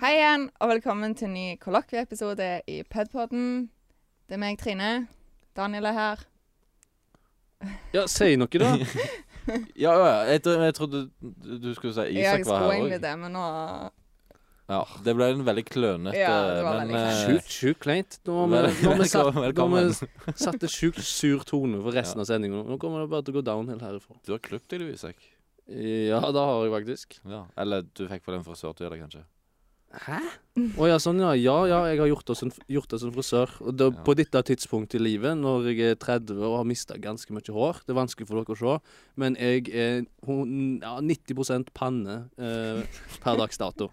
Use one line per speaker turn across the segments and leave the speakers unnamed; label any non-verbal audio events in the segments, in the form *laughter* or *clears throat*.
Hei og velkommen til en ny kollokvieepisode i Pedpodden. Det er meg, Trine. Daniel er her.
Ja, si noe, *laughs* da.
*laughs*
Ja, ja, ja. jeg, tro- jeg trodde du du skulle si
jeg
Isak var
skulle
her
egentlig
òg.
det, eh, men nå
Ja, det ble en veldig klønete
Ja, det var
Men
veldig klønete.
eh,
Sjukt, sjukt kleint. Nå har vi, nå har
Velkommen.
vi, satt, nå har
Velkommen.
vi satte sjukt sur tone for resten av sendingen. Nå kommer det bare til å gå downhill herifra.
du har klippet deg, du, Isak.
Ja, det har jeg faktisk.
Ja. Eller du fikk på den fra Sørtøya, kanskje.
Hæ? Å ja, sånn ja. Ja, ja, jeg har gjort det som, gjort det som frisør. Og da,
Ja.
På dette tidspunktet i livet, når jeg er 30 og har mista ganske mye hår Det er vanskelig for dere å se, men jeg er hun- ja, 90 panne eh, per dags dato.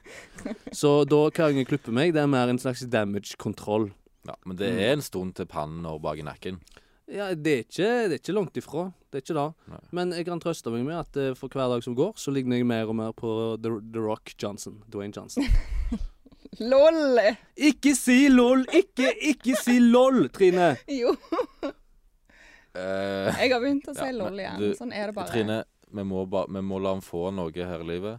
Så da hver gang jeg klipper meg, det er mer en slags damage control.
Ja, Men det er en stund til pannen og bak i nakken.
Ja, det er ikke, det er ikke langt ifra. Det er ikke det.
Nei.
Men jeg kan trøste meg med at eh, for hver dag som går, så ligner jeg mer og mer på The, The Rock Johnson. Dwayne Johnson.
LOL! *laughs*
ikke si lol! Ikke, ikke si lol, Trine!
Jo, *laughs*
Eh,
jeg har begynt å si
Ja, men
LOL igjen.
du,
sånn er det bare.
Trine, vi må, ba, vi må la han få noe her i livet.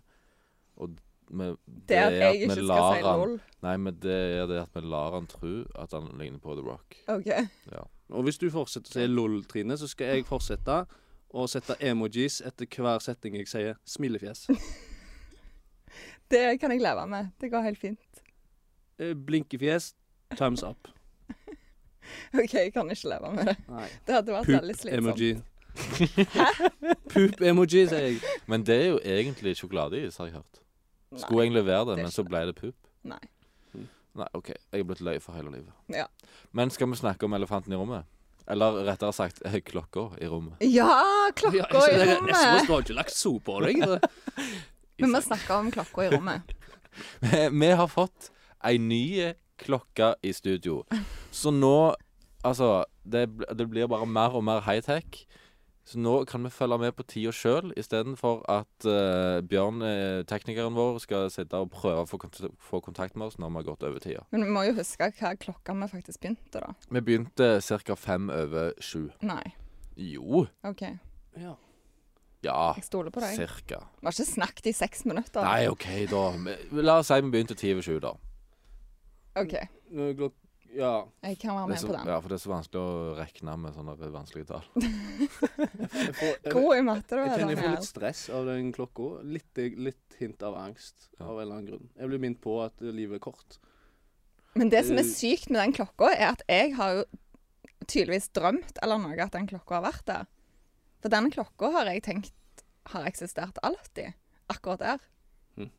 Og vi,
det at jeg ikke skal si
han
LOL.
Nei, men det er det at vi lar han tro at han ligner på The Rock.
OK.
Og hvis du fortsetter å si lol, Trine, så skal jeg fortsette å sette emojis etter hver setning jeg sier. Smilefjes.
Det kan jeg leve med. Det går helt fint.
Eh, Blinkefjes. Thumbs up.
OK, jeg kan ikke leve med det.
Nei.
Det hadde vært veldig slitsomt.
Poop-emoji. *laughs* Poop-emoji, sier jeg.
Men det er jo egentlig sjokoladeis, har jeg hørt. Skulle
Nei.
jeg levere det,
det er
men så ble det pup?
Nei.
Mm.
Nei, OK. Jeg er blitt løy for hele livet.
Ja.
Men skal vi snakke om elefanten i rommet? Eller rettere sagt eh, klokka i rommet. *laughs*
Ja,
Ja,
klokka i
jeg- jeg-
rommet!
SMS har ikke lagt so på deg.
Vi må snakke om klokka i rommet.
vi har fått ei ny klokke i studio. Så nå Altså, det, bl- det blir bare mer og mer high-tech. Så nå kan vi følge med på tida sjøl, istedenfor at eh, Bjørn, eh, teknikeren vår, skal sitte og prøve å få, kont få kontakt med oss når vi har gått over tida.
Men vi må jo huske hva klokka vi faktisk begynte, da.
Vi begynte ca. fem over sju.
Nei.
Jo.
OK,
Ja.
Ja.
jeg stoler på deg.
Cirka.
Vi har ikke snakket i seks minutter.
Nei, OK, da. Men La oss si vi begynte ti over sju, da.
OK,
Nå er klok- Ja.
jeg kan være
Det er
med
så,
på den.
ja, for det er så vanskelig å regne med sånne vanskelige tall.
Jeg, får, jeg,
God i matte, du
jeg
er,
kjenner jeg får
Daniel.
litt stress av den klokka. Litt, litt hint av angst
Ja.
av en eller annen grunn. Jeg blir minnet på at livet er kort.
Men det som er
Eh,
sykt med den klokka, er at jeg har jo tydeligvis drømt eller noe at den klokka har vært der. For den klokka har jeg tenkt har eksistert alltid. Akkurat der.
Mhm.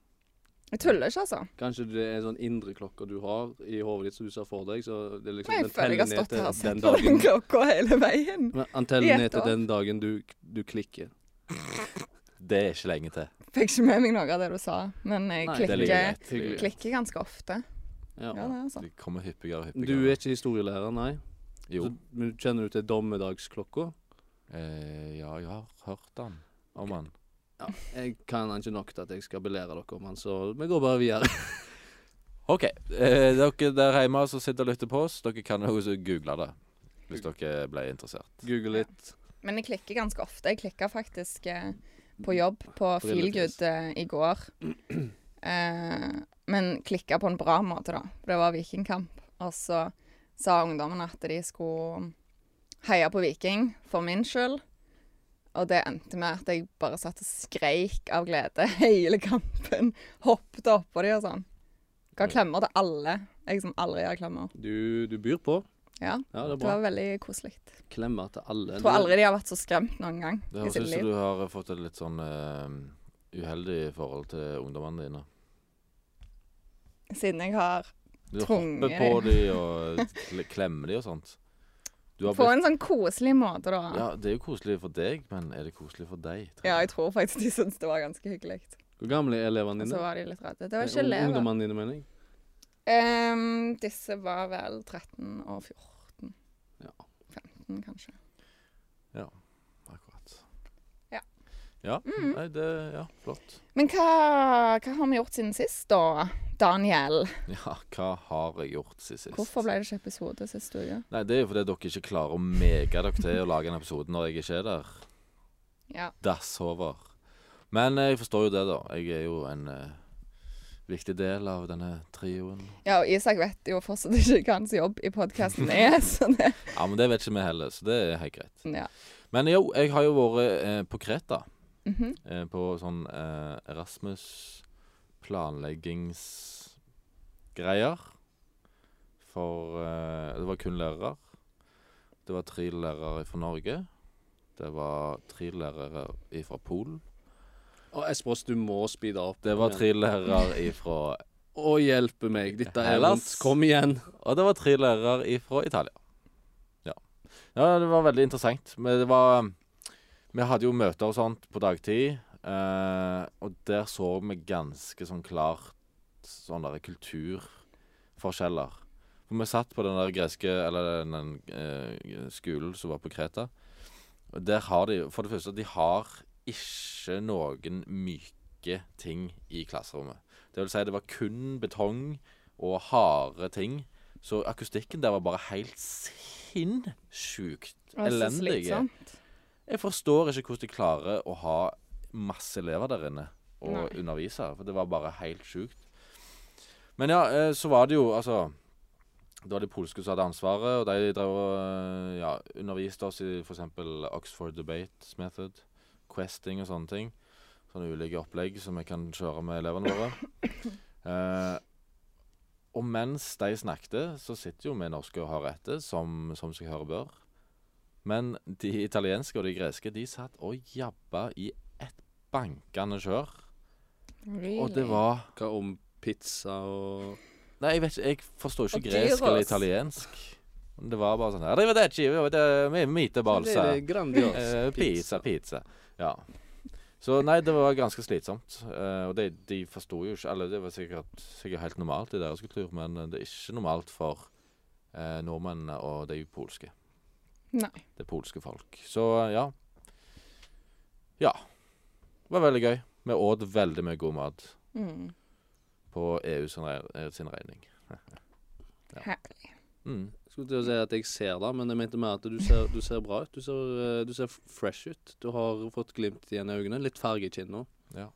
Jeg tuller ikke, altså.
Kanskje det er en sånn indre klokke du har i hodet ditt som du ser for deg. Så det er liksom,
Men jeg
den
føler jeg har
teller ned
stått her og
til
sett
den
på den
dagen
klokka hele veien.
Men Han
I
teller
ett
ned til
år.
den dagen du, du klikker.
Det er ikke lenge til.
Fikk ikke med meg noe av det du sa, men jeg
Nei, det
ligger
klikker,
rett.
Hyggelig.
klikker ganske ofte.
Ja.
Ja, det er altså.
De kommer hyppigere og hyppigere.
Du er ikke historielærer, nei?
Jo.
Så, men kjenner du til dommedagsklokka?
Eh, ja, jeg har hørt han om han.
Ja, jeg kan den ikke nok til at jeg skal belære dere om den, så vi går bare videre. *laughs*
OK. Eh, dere der hjemme som sitter og lytter på oss, dere kan jo også google det. Hvis dere ble interessert.
Google litt.
Men jeg klikker ganske ofte. Jeg klikka faktisk eh, på jobb på
Brillefjes.
Feelgood eh, i går. Eh, men klikka på en bra måte, da. For det var Vikingkamp. Og så sa ungdommen at de skulle mm, heie på Viking for min skyld. Og det endte med at jeg bare satt og skreik av glede *laughs* hele kampen. Hoppet oppå de og sånn. Ga klemmer til alle. Jeg som aldri gir klemmer.
Du, du byr på.
Ja,
Ja, det er
det
bra.
var veldig koselig.
Klemmer til alle.
Tror aldri de har vært så skremt noen gang
Det
i
høres
sitt
ut
liv.
som du har fått et litt sånn eh, uheldig forhold til ungdommene dine.
Siden jeg har
Du
Tvunget
hopper på de og kle- klemmer de og sånt. Du har
På
blitt-
en sånn koselig måte, da.
Ja, det er jo koselig for deg, men er det koselig for deg? Trine?
Ja, jeg tror faktisk de syntes det var ganske hyggelig.
Hvor gamle er elevene
Og
dine?
så var de litt redde. Det var
Eh,
ikke
ung-
altså.
elever.
Ungdommene dine, mener jeg.
Ehm, disse var vel 13 og 14.
Ja.
15, kanskje.
Akkurat.
Ja.
Ja,
Mhm.
nei, det Ja, flott. *laughs*
Men hva, hva har vi gjort siden sist, da? Daniel,
Ja, hva har jeg gjort siden sist?
hvorfor ble det ikke episode sist uke?
Nei, det er jo fordi dere ikke klarer å mege dere til å lage en episode når jeg ikke er der.
Ja.
Dasshover. Men eh, jeg forstår jo det, da. Jeg er jo en eh, Viktig del av denne trioen.
Ja, og Isak vet jo fortsatt ikke hva hans jobb i podkasten er, *laughs* så det
Ja, men det vet ikke vi heller, så det er helt greit.
Ja.
Men jo, jeg har jo vært eh, på Kreta.
Mhm.
eh, på sånn eh, Erasmus planleggingsgreier. For eh, det var kun lærere. Det var tre lærere fra Norge. Det var tre lærere fra Polen.
Og Espros, du må speede opp.
Det var tre lærere fra
Å, hjelpe meg. Dette er
Hellas.
vondt. Kom igjen.
Og det var tre lærere fra Italia. Ja. ja, det var veldig interessant. Men det var um, Vi hadde jo møter og sånt på dagtid, eh, og der så vi ganske sånn klart sånne der kulturforskjeller. For vi satt på den der greske Eller den, den eh, skolen som var på Kreta. Og der har de For det første, de har ikke noen myke ting i klasserommet. Det vil si, det var kun betong og harde ting. Så akustikken der var bare helt sinnssykt
Og så
elendig.
slitsomt.
Jeg forstår ikke hvordan de klarer å ha masse elever der inne og
Nei.
undervise. For det var bare helt sjukt. Men ja, eh, så var det jo altså Det var de polske som hadde ansvaret, og de drev og eh, ja, underviste oss i f.eks. Oxford Debate Method, Questing og sånne ting. Sånne ulike opplegg som vi kan kjøre med elevene våre. Eh, og mens de snakket, så sitter jo vi norske og har rette, som, som seg høre bør. Men de italienske og de greske de satt og jabba i et bankende kjør.
Really?
Og det var
Hva om pizza og
Nei, jeg vet ikke, jeg forstår ikke
Og
gresk eller
gyros.
italiensk. Men Det var bare sånn her Arrivederci, vede- mi- mite balsa.
Det er grandios.
Eh, Pizza, pizza. Ja. Så nei, det var ganske slitsomt. Eh, og de, de forsto jo ikke Eller det var sikkert, sikkert helt normalt i deres kultur, men det er ikke normalt for eh, nordmenn og de polske.
Nei.
Det polske folk. Så ja. Ja. Det var veldig gøy. Vi åt veldig mye god mat
Mm.
på EU sin, re- eh, sin regning. Ja.
Herlig.
Mm.
Skulle til å si at jeg ser det, men jeg mente mer at du ser, du ser bra ut. Du ser, eh, du ser fresh ut. Du har fått glimt igjen i øynene. Litt farge i kinna.
Ja.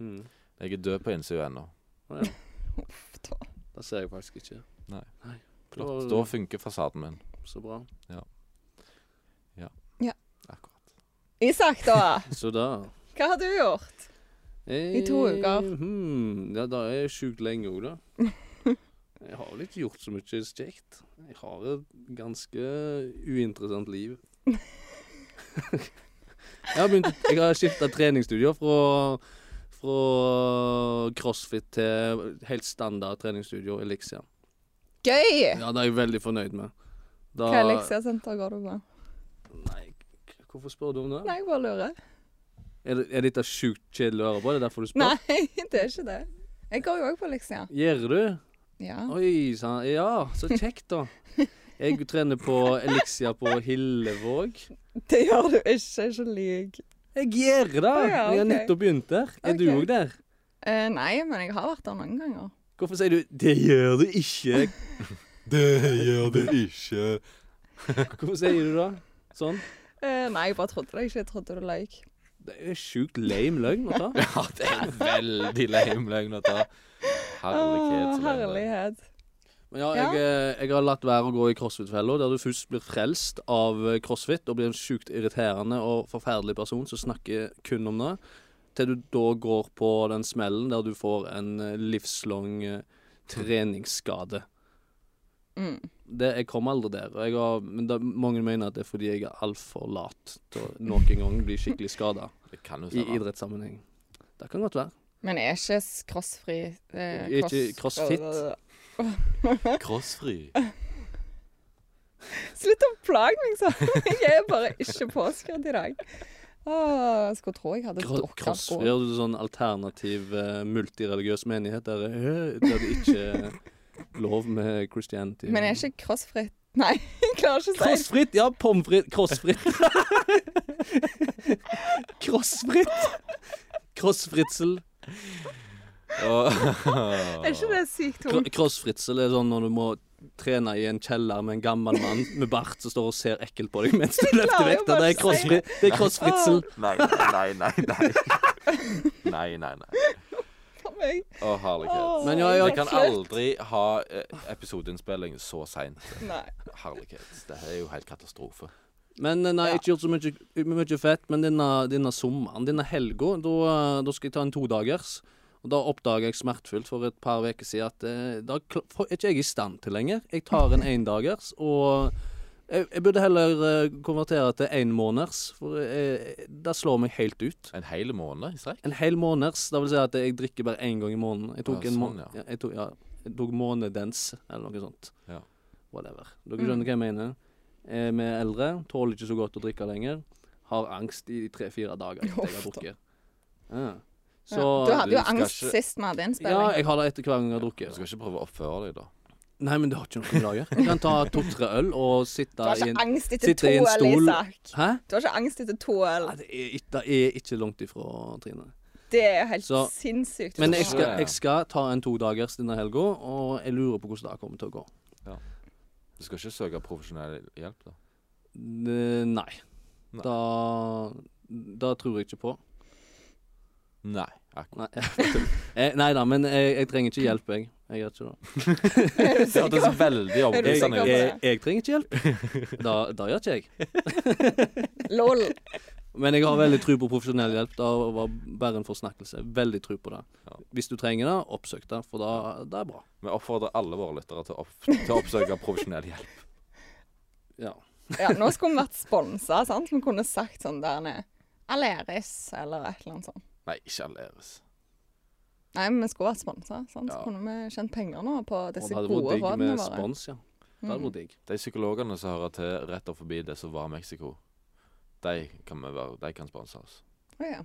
Mm.
Jeg er død på innsida ennå.
Å ja.
Uff da.
Det ser jeg faktisk ikke.
Nei.
Da-
Flott. Da funker fasaden min.
Så bra.
Akkurat.
Isak, da.
Så da
Hva har du gjort?
I
to uker.
Hmm, ja, da er jeg sjukt lenge òg, da. *laughs* Jeg har vel ikke gjort så mye kjekt. Jeg har et ganske uinteressant liv. *laughs* jeg har begynt Jeg har skifta treningsstudio fra, fra crossfit til helt standard treningsstudio Elixia.
Gøy!
Ja, det er jeg veldig fornøyd med. Da,
Hva leksesenter går du på?
Nei, k- hvorfor spør du om det?
Nei, jeg bare lurer.
Er, det- er dette sjukt kjedelig å høre på? Det er derfor du spør?
Nei, *laughs* det er ikke det. Jeg går jo òg på lekser.
Gjør du?
Ja.
Oi sann. Ja, så kjekt, da. Jeg trener på Elixia på Hillevåg.
Det gjør du ikke, ikke lyg.
Jeg gjør det!
Å ja,
Jeg har
ok.
nettopp begynt der. Er du
Ok.
òg der?
Eh, nei, men jeg har vært der noen ganger.
Hvorfor sier du 'det gjør du ikke'?
Det gjør det ikke.
Hvorfor sier du det? Sånn.
Eh, nei, jeg bare trodde det ikke. Jeg trodde du løy.
Det er sjukt lame løgn å ta.
*laughs* Ja, det er en veldig lame løgn å ta. Herlighet.
Å,
så lame løgn.
herlighet.
Men ja, jeg, eh, jeg har latt være å gå i crossfit-fella, der du først blir frelst av eh, crossfit og blir en sjukt irriterende og forferdelig person som snakker kun om det, til du da går på den smellen der du får en eh, livslang eh, treningsskade.
Mm.
Det, jeg kom aldri der. Og jeg har, men da, mange mener at det er fordi jeg er altfor lat til å noen gang bli skikkelig skada
Det kan jo
i
stemme.
idrettssammenheng. Det kan godt være.
Men er ikke s- crossfri eh,
Er ikke crossfit?
Øh,
Crossfri.
*laughs* Slutt å plage meg sånn! *laughs* Jeg er bare ikke påskrudd i dag. Åh, skulle tro jeg hadde
Kro-
drukket
Crossfit
alkohol.
er jo sånn alternativ eh, multireligiøs menighet der, eh, der det ikke er lov med christianity.
Men er ikke crossfritt Nei, *laughs* jeg klarer ikke å si det.
Crossfritt! Ja, pommes frites. *laughs* Crossfritt. Crossfritt. Crossfritsel.
Åh.
Er ikke det sykt
Kro-
tungt?
Crossfritsel er sånn når du må trene i en kjeller med en gammel mann med bart som står og ser ekkel på deg
*laughs*
mens du løfter
klarer jo
vekta. Det er
bare å si
crossfri- det er crossfritsel.
*laughs* Nei, nei, nei, nei. Nei, nei, nei.
Kom meg.
Å, herlighet.
Men ja, ja,
Vi kan
Absolutt.
aldri ha eh, episodeinnspilling så seint.
Nei.
Herlighet. Det er jo helt katastrofe.
Men eh, nei,
Ja.
ikke gjort så mye, mye fett. Men denne, denne sommeren, denne helga, da, eh, da skal jeg ta en todagers. Og da oppdaga jeg smertefullt for et par uker siden at eh, da kl- får- er ikke jeg i stand til lenger. Jeg tar en endagers, og jeg, jeg burde heller eh, konvertere til en måneders, for eh, det slår meg helt ut.
En hel måned i strekk?
En hel måneders, det vil si at jeg drikker bare én gang i måneden. Jeg tok,
Ja,
en må
sånn, ja.
ja. jeg tok, ja, jeg tok månedens, eller noe sånt.
Ja.
Whatever.
Mm.
Dere skjønner hva jeg mener. Eh, Vi er eldre, tåler ikke så godt å drikke lenger. Har angst i tre-fire dager etter jeg har
Uff da.
drukket. Ja. Så
Ja. Du hadde jo
du skal
angst
ikke-
sist vi hadde
Ja,
innspilling.
jeg har det etter hver gang jeg har
Du
drukket.
skal ikke prøve å oppføre deg, da.
Nei, men det har ikke noe med det å gjøre. Jeg kan ta to-tre øl og
Du
sitte
har
i en
ikke angst etter
sitter
to
i en
øl,
stol.
Isak.
Hæ?
Du har ikke angst etter to øl.
Nei, det er, ikke- det er ikke langt ifra, Trine.
Det er jo helt
Så-
sinnssykt.
Men jeg
Ja.
skal, jeg skal ta en todagers denne helga, og jeg lurer på hvordan det kommer til å gå.
Du skal ikke søke profesjonell hjelp, da.
N- Eh, Nei.
Nei.
Da, da tror jeg ikke på.
Nei. Akkurat.
Nei, *laughs* eh, nei da, men jeg, jeg trenger ikke hjelp, jeg. Jeg gjør ikke det.
Er du
Det
sikker?
hørtes veldig
Jeg,
sikker
overbevisende
på
ut.
det?
jeg, jeg trenger ikke hjelp. *laughs* Da, da gjør ikke jeg.
*laughs* Lol.
Men jeg har veldig tro på profesjonell hjelp. Da var bare en forsnakkelse. Veldig tro på det.
Ja.
Hvis du trenger det, oppsøk det, for da det er bra.
Vi oppfordrer alle våre lyttere til å, opp, til å oppsøke profesjonell hjelp.
Ja.
Ja, nå skulle vi vært sponsa, sant? Vi kunne sagt sånn der nede Aleris eller et eller annet sånt.
Nei, ikke Aleris.
Nei, men vi skulle vært sponsa, sant? Så
Ja.
kunne vi tjent penger nå på
Og
disse
det hadde vært
gode
digg
rådene
med
våre.
spons, ja. Det hadde vært digg.
De psykologene som hører til rett og forbi det som var Mexico, de kan, vi være, de kan sponse oss.
Å, ja.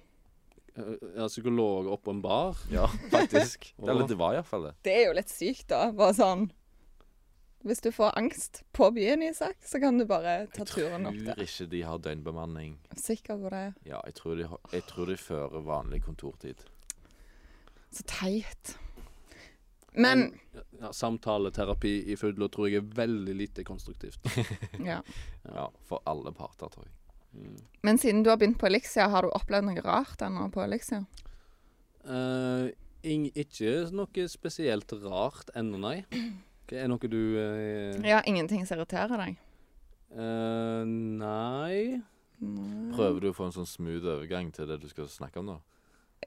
Eh, Ja, psykolog oppå en bar.
Ja, faktisk. Eller det var iallfall det.
Det er jo litt sykt, da. Bare sånn Hvis du får angst på byen, Isak, så kan du bare ta
Jeg
turen opp
tror
der.
ikke de har døgnbemanning.
Sikker på det.
Ja, jeg tror de, har- jeg tror de fører vanlig kontortid.
Så teit. Men
Ja, samtaleterapi i Fudlo tror jeg er veldig lite konstruktivt.
ja.
Ja, For alle parter, tror jeg.
Men siden du har begynt på Elixia, har du opplevd noe rart ennå på Elixia?
Eh, ing, ikke noe spesielt rart ennå, nei. Hva er noe du eh,
Ja, ingenting som irriterer deg?
eh, Nei
Nei.
Prøver du å få en sånn smooth overgang til det du skal snakke om, da?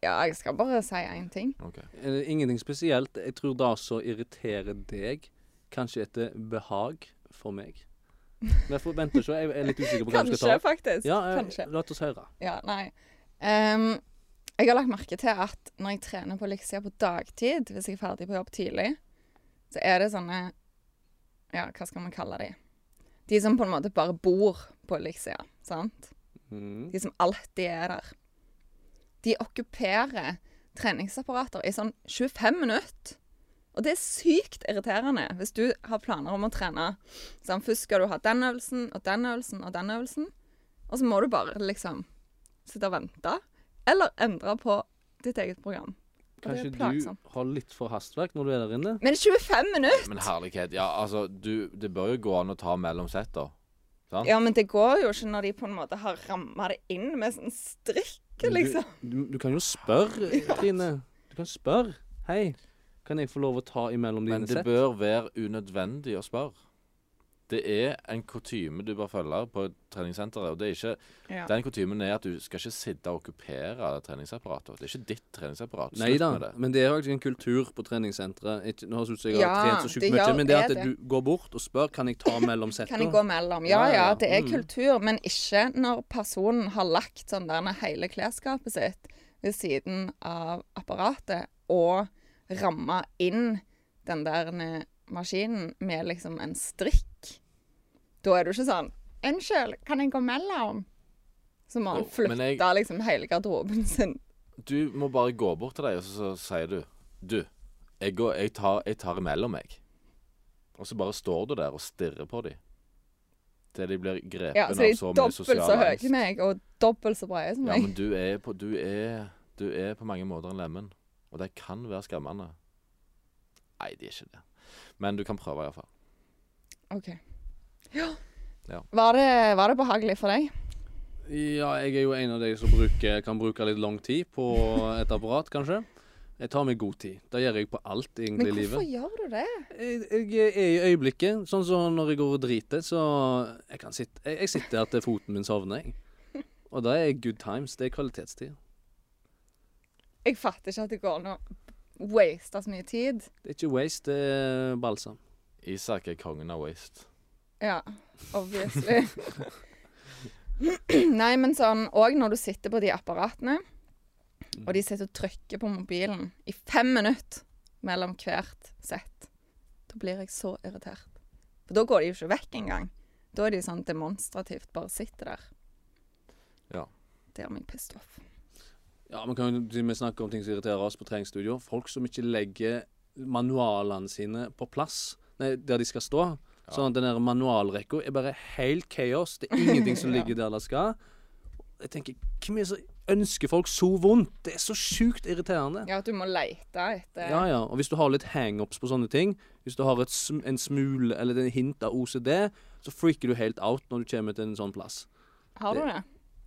Ja, jeg skal bare si én ting.
Ok.
Eh, Ingenting spesielt. Jeg tror det som irriterer deg, kanskje er til behag
*laughs*
for meg. Men for, vent og se, jeg er litt usikker på hva jeg
Kanskje,
skal ta.
faktisk.
Ja, eh,
Kanskje.
La oss høre.
Ja, nei. Ehm, jeg har lagt merke til at når jeg trener på Elixia på dagtid, hvis jeg er ferdig på jobb tidlig, så er det sånne Ja, hva skal vi kalle de? De som på en måte bare bor på Elixia, sant?
Mm.
De som alltid er der. De okkuperer treningsapparater i sånn 25 minutter. Og det er sykt irriterende hvis du har planer om å trene. Sånn, først skal du ha den øvelsen og den øvelsen og den øvelsen. Og så må du bare liksom sitte og vente. Eller endre på ditt eget program. Og det
Kanskje
er
du
plagsomt.
har litt for hastverk når du er der inne?
Men 25 minutter!
Men herlighet, ja, altså du, Det bør jo gå an å ta mellom sett, da. Sant?
Ja, men det går jo ikke når de på en måte har ramma det inn med sånn strikk,
Men
liksom.
Du, du, du kan jo
*laughs*
spørre, Trine. Du kan spørre. Hei, kan jeg få lov å ta imellom dine
Men det
sett?
bør være unødvendig å spørre. Det er en kutyme du bør følge på treningssenteret. og det er ikke,
Ja.
Den kutymen er at du skal ikke sitte og okkupere treningsapparatet. Det er ikke ditt treningsapparat.
Nei
Slutt
da,
med det.
men det er faktisk en kultur på treningssentre. Ikke, nå synes jeg jeg
Ja,
har trent så sjukt
det
mye,
gjør-
men det at
er det.
du går bort og spør kan jeg
*laughs*
ta mellom
Kan jeg gå
settene.
mellom? Ja,
Ja,
ja,
ja.
det er
Mm.
kultur, men ikke når personen har lagt sånn der hele klesskapet sitt ved siden av apparatet og ramma inn den der maskinen med liksom en strikk. Da er du ikke sånn 'Unnskyld, kan jeg gå mellom?' Så må han
Jo, men
flytte
jeg-
liksom hele garderoben sin.
Du må bare gå bort til deg, og så, så sier du Du, jeg, går, jeg, tar, jeg tar imellom, jeg. Og så bare står du der og stirrer på dem. Til de blir grepet
Ja, så de
av
er
så mye
dobbelt
sosial
så høye
angst.
som meg, og dobbelt så brede som
Ja,
meg.
men du er, på, du, er, du er på mange måter en lemen, og det kan være skremmende. Nei, det er ikke det. Men du kan prøve iallfall.
OK. Ja.
Ja.
Var det, var det behagelig for deg?
Ja, jeg er jo en av de som bruker, kan bruke litt lang tid på et apparat, kanskje. Jeg tar meg god tid. Det gjør jeg på alt egentlig
Men
i livet.
hvorfor gjør du det?
Jeg, jeg er i øyeblikket. Sånn som når jeg går og driter, så jeg kan sitte, jeg, jeg sitter her til foten min
*laughs*
sovner, jeg. Og det er good times. Det er kvalitetstid.
Jeg fatter ikke at det går an å waste så mye tid.
Det er ikke waste, det er balsam.
Isak er kongen av waste.
Ja, obviously. Nei, men sånn òg når du sitter på de apparatene, og de sitter og trykker på mobilen i fem minutter mellom hvert sett, da blir jeg så irritert. For da går de jo ikke vekk engang. Da er de sånn demonstrativt bare sitter der.
Ja.
Det gjør meg pissed off.
Ja, man kan jo til og med snakke om ting som irriterer oss på treningsstudio. Folk som ikke legger manualene sine på plass nei, der de skal stå. Sånn at den der manualrekka er bare helt kaos. Det er ingenting som ligger der det skal. Jeg tenker, Hvem er det som ønsker folk så vondt? Det er så sjukt irriterende.
Ja, at du må leite etter
Ja, ja. Og hvis du har litt hangups på sånne ting, hvis du har et, sm- en smule eller en hint av OCD, så freaker du helt out når du kommer til en sånn plass.
Har du det?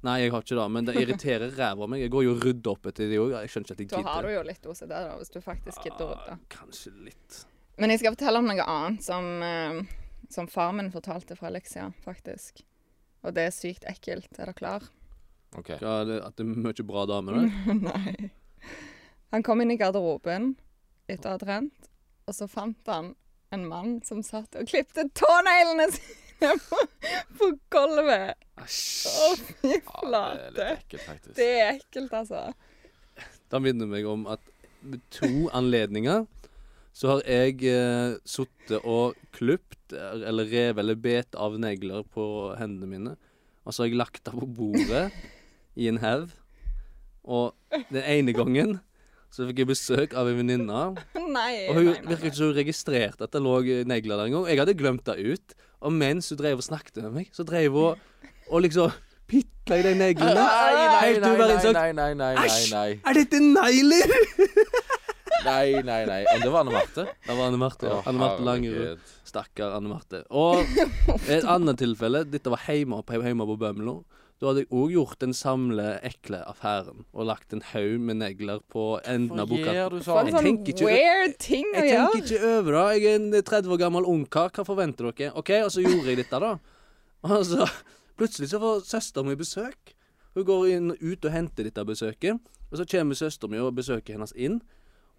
Nei, jeg har ikke det, men det irriterer *laughs* ræva av meg. Jeg går jo og rydder opp etter de òg. Jeg skjønner ikke at jeg
Da
gidder.
har du jo litt OCD, da, hvis du faktisk gidder å rydde.
Ah, Kanskje litt.
Men jeg skal fortelle om noe annet som, eh, som far min fortalte fra Elixia, faktisk. Og det er sykt ekkelt. Er dere klar? *laughs*
OK.
Hva er det, at det er mye bra damer der?
Nei. Han kom inn i garderoben etter å ha trent, og så fant han en mann som satt og klipte tåneglene sine *laughs* på, på gulvet. Å,
*laughs* Æsj.
fy
Ja, det er litt
flate.
ekkelt, faktisk.
Det er ekkelt, altså.
Det minner meg om at ved to anledninger så har jeg eh, sittet og klipt eller revet eller bet av negler på hendene mine. Og så har jeg lagt det på bordet i en haug. Og den ene gangen så fikk jeg besøk av en venninne.
Nei.
Og hun
nei, nei,
virket ikke så hun registrerte at det lå negler der engang. Jeg hadde glemt det ut. Og mens hun drev og snakket med meg, så drev hun og liksom pitla i de neglene. Helt uverdig sagt.
nei, nei, nei, nei,
Æsj!
nei.
Er dette negler?
Nei, nei, nei. Om det var Anne Marte?
Det var Anne Marte. Ja.
Å,
Anne Marte Langerud.
herregud.
Stakkar Anne Marte. Og et annet tilfelle, dette var hjemme på, hjemme på Bømlo. Da hadde jeg òg gjort den samle ekle affæren og lagt en haug med negler på enden av
Hvorfor
boka.
gjør du
For en
Jeg
sånn?
sånn
tenker ikke-
weird ting å
Jeg tenker
gjøre.
ikke over det. Jeg er en 30 år gammel ungkar. Hva forventer dere? OK, og så gjorde jeg dette, da. *laughs* Og så plutselig så får søsteren min besøk. Hun går inn, ut og henter dette besøket. Og så kommer søsteren min og besøket hennes inn.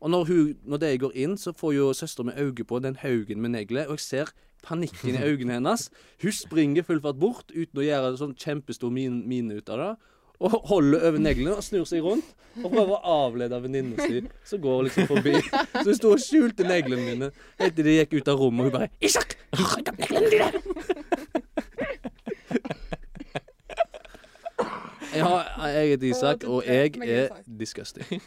Og når, hun, når det går inn, så får jo søsteren min øye på den haugen med negler, og jeg ser panikken i øynene hennes. Hun springer full fart bort uten å gjøre en sånn kjempestor min, mine ut av det. Og holder over neglene og snur seg rundt og prøver å avlede venninnen sin, som går liksom forbi. Så hun sto og skjulte neglene mine helt til de gikk ut av rommet, og hun bare 'Isak, rydd opp neglene dine!' Ja, jeg heter Isak, og jeg er disgusting.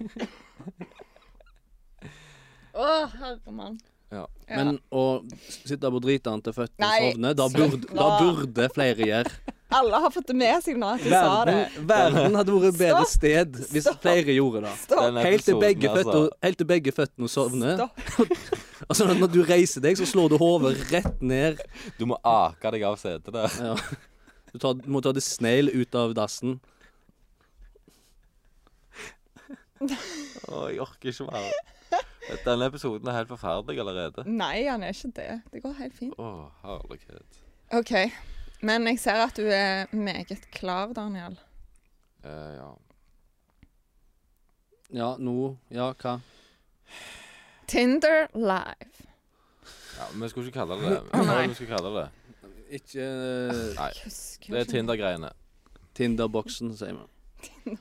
Å, herremann.
Ja.
Ja.
Men å sitte på dritene til føttene og
Nei,
sovne, da
slutt
burde, da
nå.
burde flere gjøre.
Alle har fått det med seg nå at du sa det.
Verden, verden hadde vært et bedre
Stopp.
sted hvis
Stopp.
flere gjorde det.
Stopp.
Den
Helt til
episoden,
begge
altså.
føttene, helt til begge føttene sovner.
Stopp.
Altså, når du reiser deg, så slår du hodet rett ned.
Du må ake deg av setet der.
Ja. Du tar, må ta det sneil ut av dassen.
Å, jeg orker ikke mer. Denne episoden er helt forferdelig allerede.
Nei, han er ikke det. Det går helt fint.
Å, herlighet.
OK. Men jeg ser at du er meget klar, Daniel.
Eh, ja.
Ja, nå Ja, hva?
Tinder live.
ja. Men vi skulle ikke kalle det det. Hva var det vi skulle kalle det?
Ikke eh,
Nei.
Husker
Det er
ikke.
Tinder-greiene.
Tinderboksen, sier vi.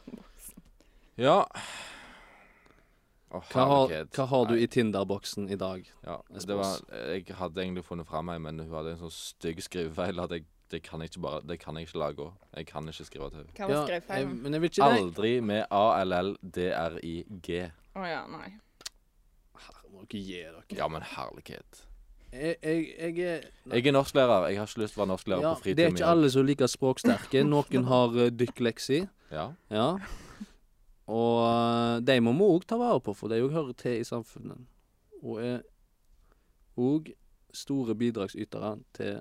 Ja. Å,
Hva har,
herlighet.
hva har du i Tinderboksen i dag?
Ja,
Jeg
det var, jeg hadde egentlig funnet fram ei, men hun hadde en sånn stygg skrivefeil at jeg, det kan jeg ikke bare, det kan jeg ikke lage òg. Jeg kan ikke skrive til henne.
Hva var
jeg,
skrivefeilen?
men jeg vil ikke det.
Aldri med A-L-L-D-R-I-G.
Å ja, nei.
Herre, må dere gi dere.
Ja, men herlighet.
Jeg, jeg, jeg er
Jeg er norsklærer. Jeg har ikke lyst til å være norsklærer
ja,
på
Det er
fritiden
ikke alle som liker språksterke. Noen har uh, dykleksi.
Ja.
Ja. Og eh, de må vi òg ta vare på, for de òg hører til i samfunnet. Og er òg store bidragsytere til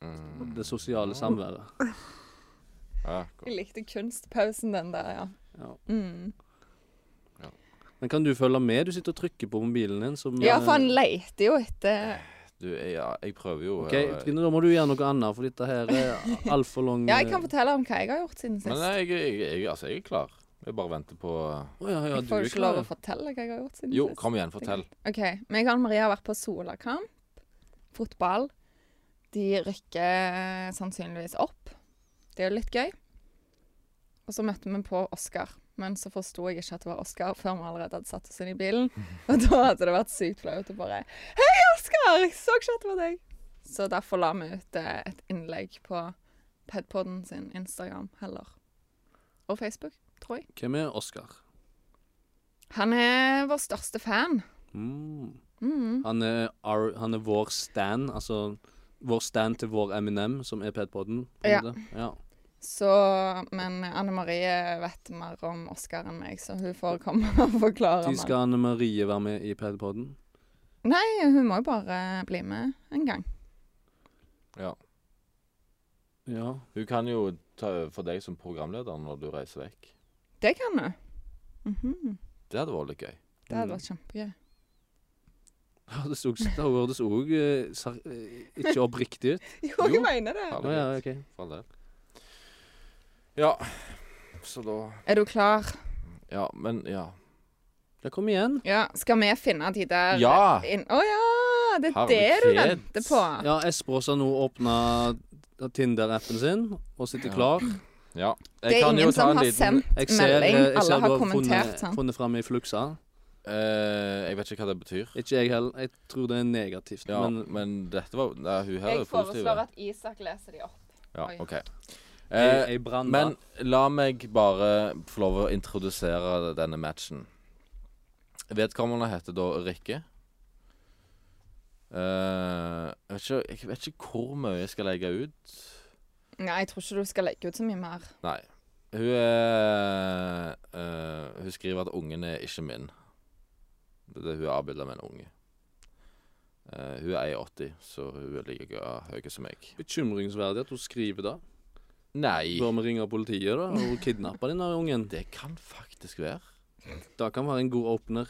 Mm.
det sosiale samværet.
ja.
Jeg likte kunstpausen den der, ja.
Ja.
Mm.
Men kan du følge med? Du sitter og trykker på mobilen din. Som, eh,
Ja, for han leter jo etter
Du, ja, jeg prøver jo
Ok,
eh,
Trine, da må du gjøre noe annet, for dette her er altfor lang
Ja, jeg kan fortelle om hva jeg har gjort siden sist.
Men nei, jeg, jeg, jeg, altså, jeg er klar. Jeg bare venter på
Å ja, ja,
jeg
du
får
er
jo ikke lov å
klar.
fortelle hva jeg har gjort siden
Jo,
sist.
kom igjen, fortell.
OK. Meg og Marie har vært på solakamp. Fotball. De rykker eh, sannsynligvis opp. Det er jo litt gøy. Og så møtte vi på Oscar. Men så forsto jeg ikke at det var Oscar før vi allerede hadde satt oss inn i bilen. Og da hadde det vært sykt flaut å bare Hei, Oscar! Jeg så ikke at det var deg. Så derfor la vi ut eh, et innlegg på Pedpoden sin Instagram heller. Og Facebook, tror jeg.
Hvem er Oskar?
Han er vår største fan.
Mm.
Mm.
Han, er our- han er vår Stan, altså vår Stan til vår Eminem, som er Ped-podden. på en
Ja.
måte. ja.
Så, men Anne Marie vet mer om Oscar enn meg, så hun får komme *laughs* og forklare
De
meg.
skal Anne Marie være med i Ped-podden.
Nei, hun må jo bare bli med en gang.
Ja.
Hun kan jo ta over for deg som programleder når du reiser vekk.
Det kan hun. Mhm.
Det hadde vært litt gøy.
Det hadde
Mm.
vært kjempegøy.
Ja, Det stod- det hørtes òg eh, ikke oppriktig ut.
*laughs* Jo,
jeg Jo.
mener det.
Å ja, ok.
For all del. Ja, så da
Er du klar?
Ja, men ja.
Ja, kom igjen.
Ja, skal vi finne de der
Ja!
inn- Å ja! Det er det
Herregud.
du venter på.
Ja, Espros har nå åpna Tinder-appen sin og sitter
Ja.
klar.
Ja.
Det er ingen som har sendt
Jeg ser,
melding.
eh, jeg
Alle
ser du
har
har
kommentert.
funnet,
sant?
funnet fram i fluksa.
Eh, Jeg vet ikke hva det betyr.
Ikke jeg heller. Jeg tror det er negativt.
Ja, men,
men
dette var Nei, hun her er
Jeg
jo positiv.
foreslår at Isak leser de opp.
Ja,
Oi.
OK.
jeg,
Eh,
jeg brann
Men
da.
la meg bare få lov å introdusere denne matchen. Vedkommende heter da Rikke. Eh, jeg, vet ikke, jeg vet ikke hvor mye jeg skal legge ut.
Nei, jeg tror ikke du skal legge ut så mye mer.
Nei. Hun er eh, Hun skriver at ungen er ikke min. Det er det hun er avbilda med en unge. Eh, hun er 1,80, så hun er like høy som meg.
Bekymringsverdig at hun skriver det.
Nei,
Bør vi ringe politiet da og kidnappe denne ungen?
det kan faktisk være.
Det kan være en god åpner.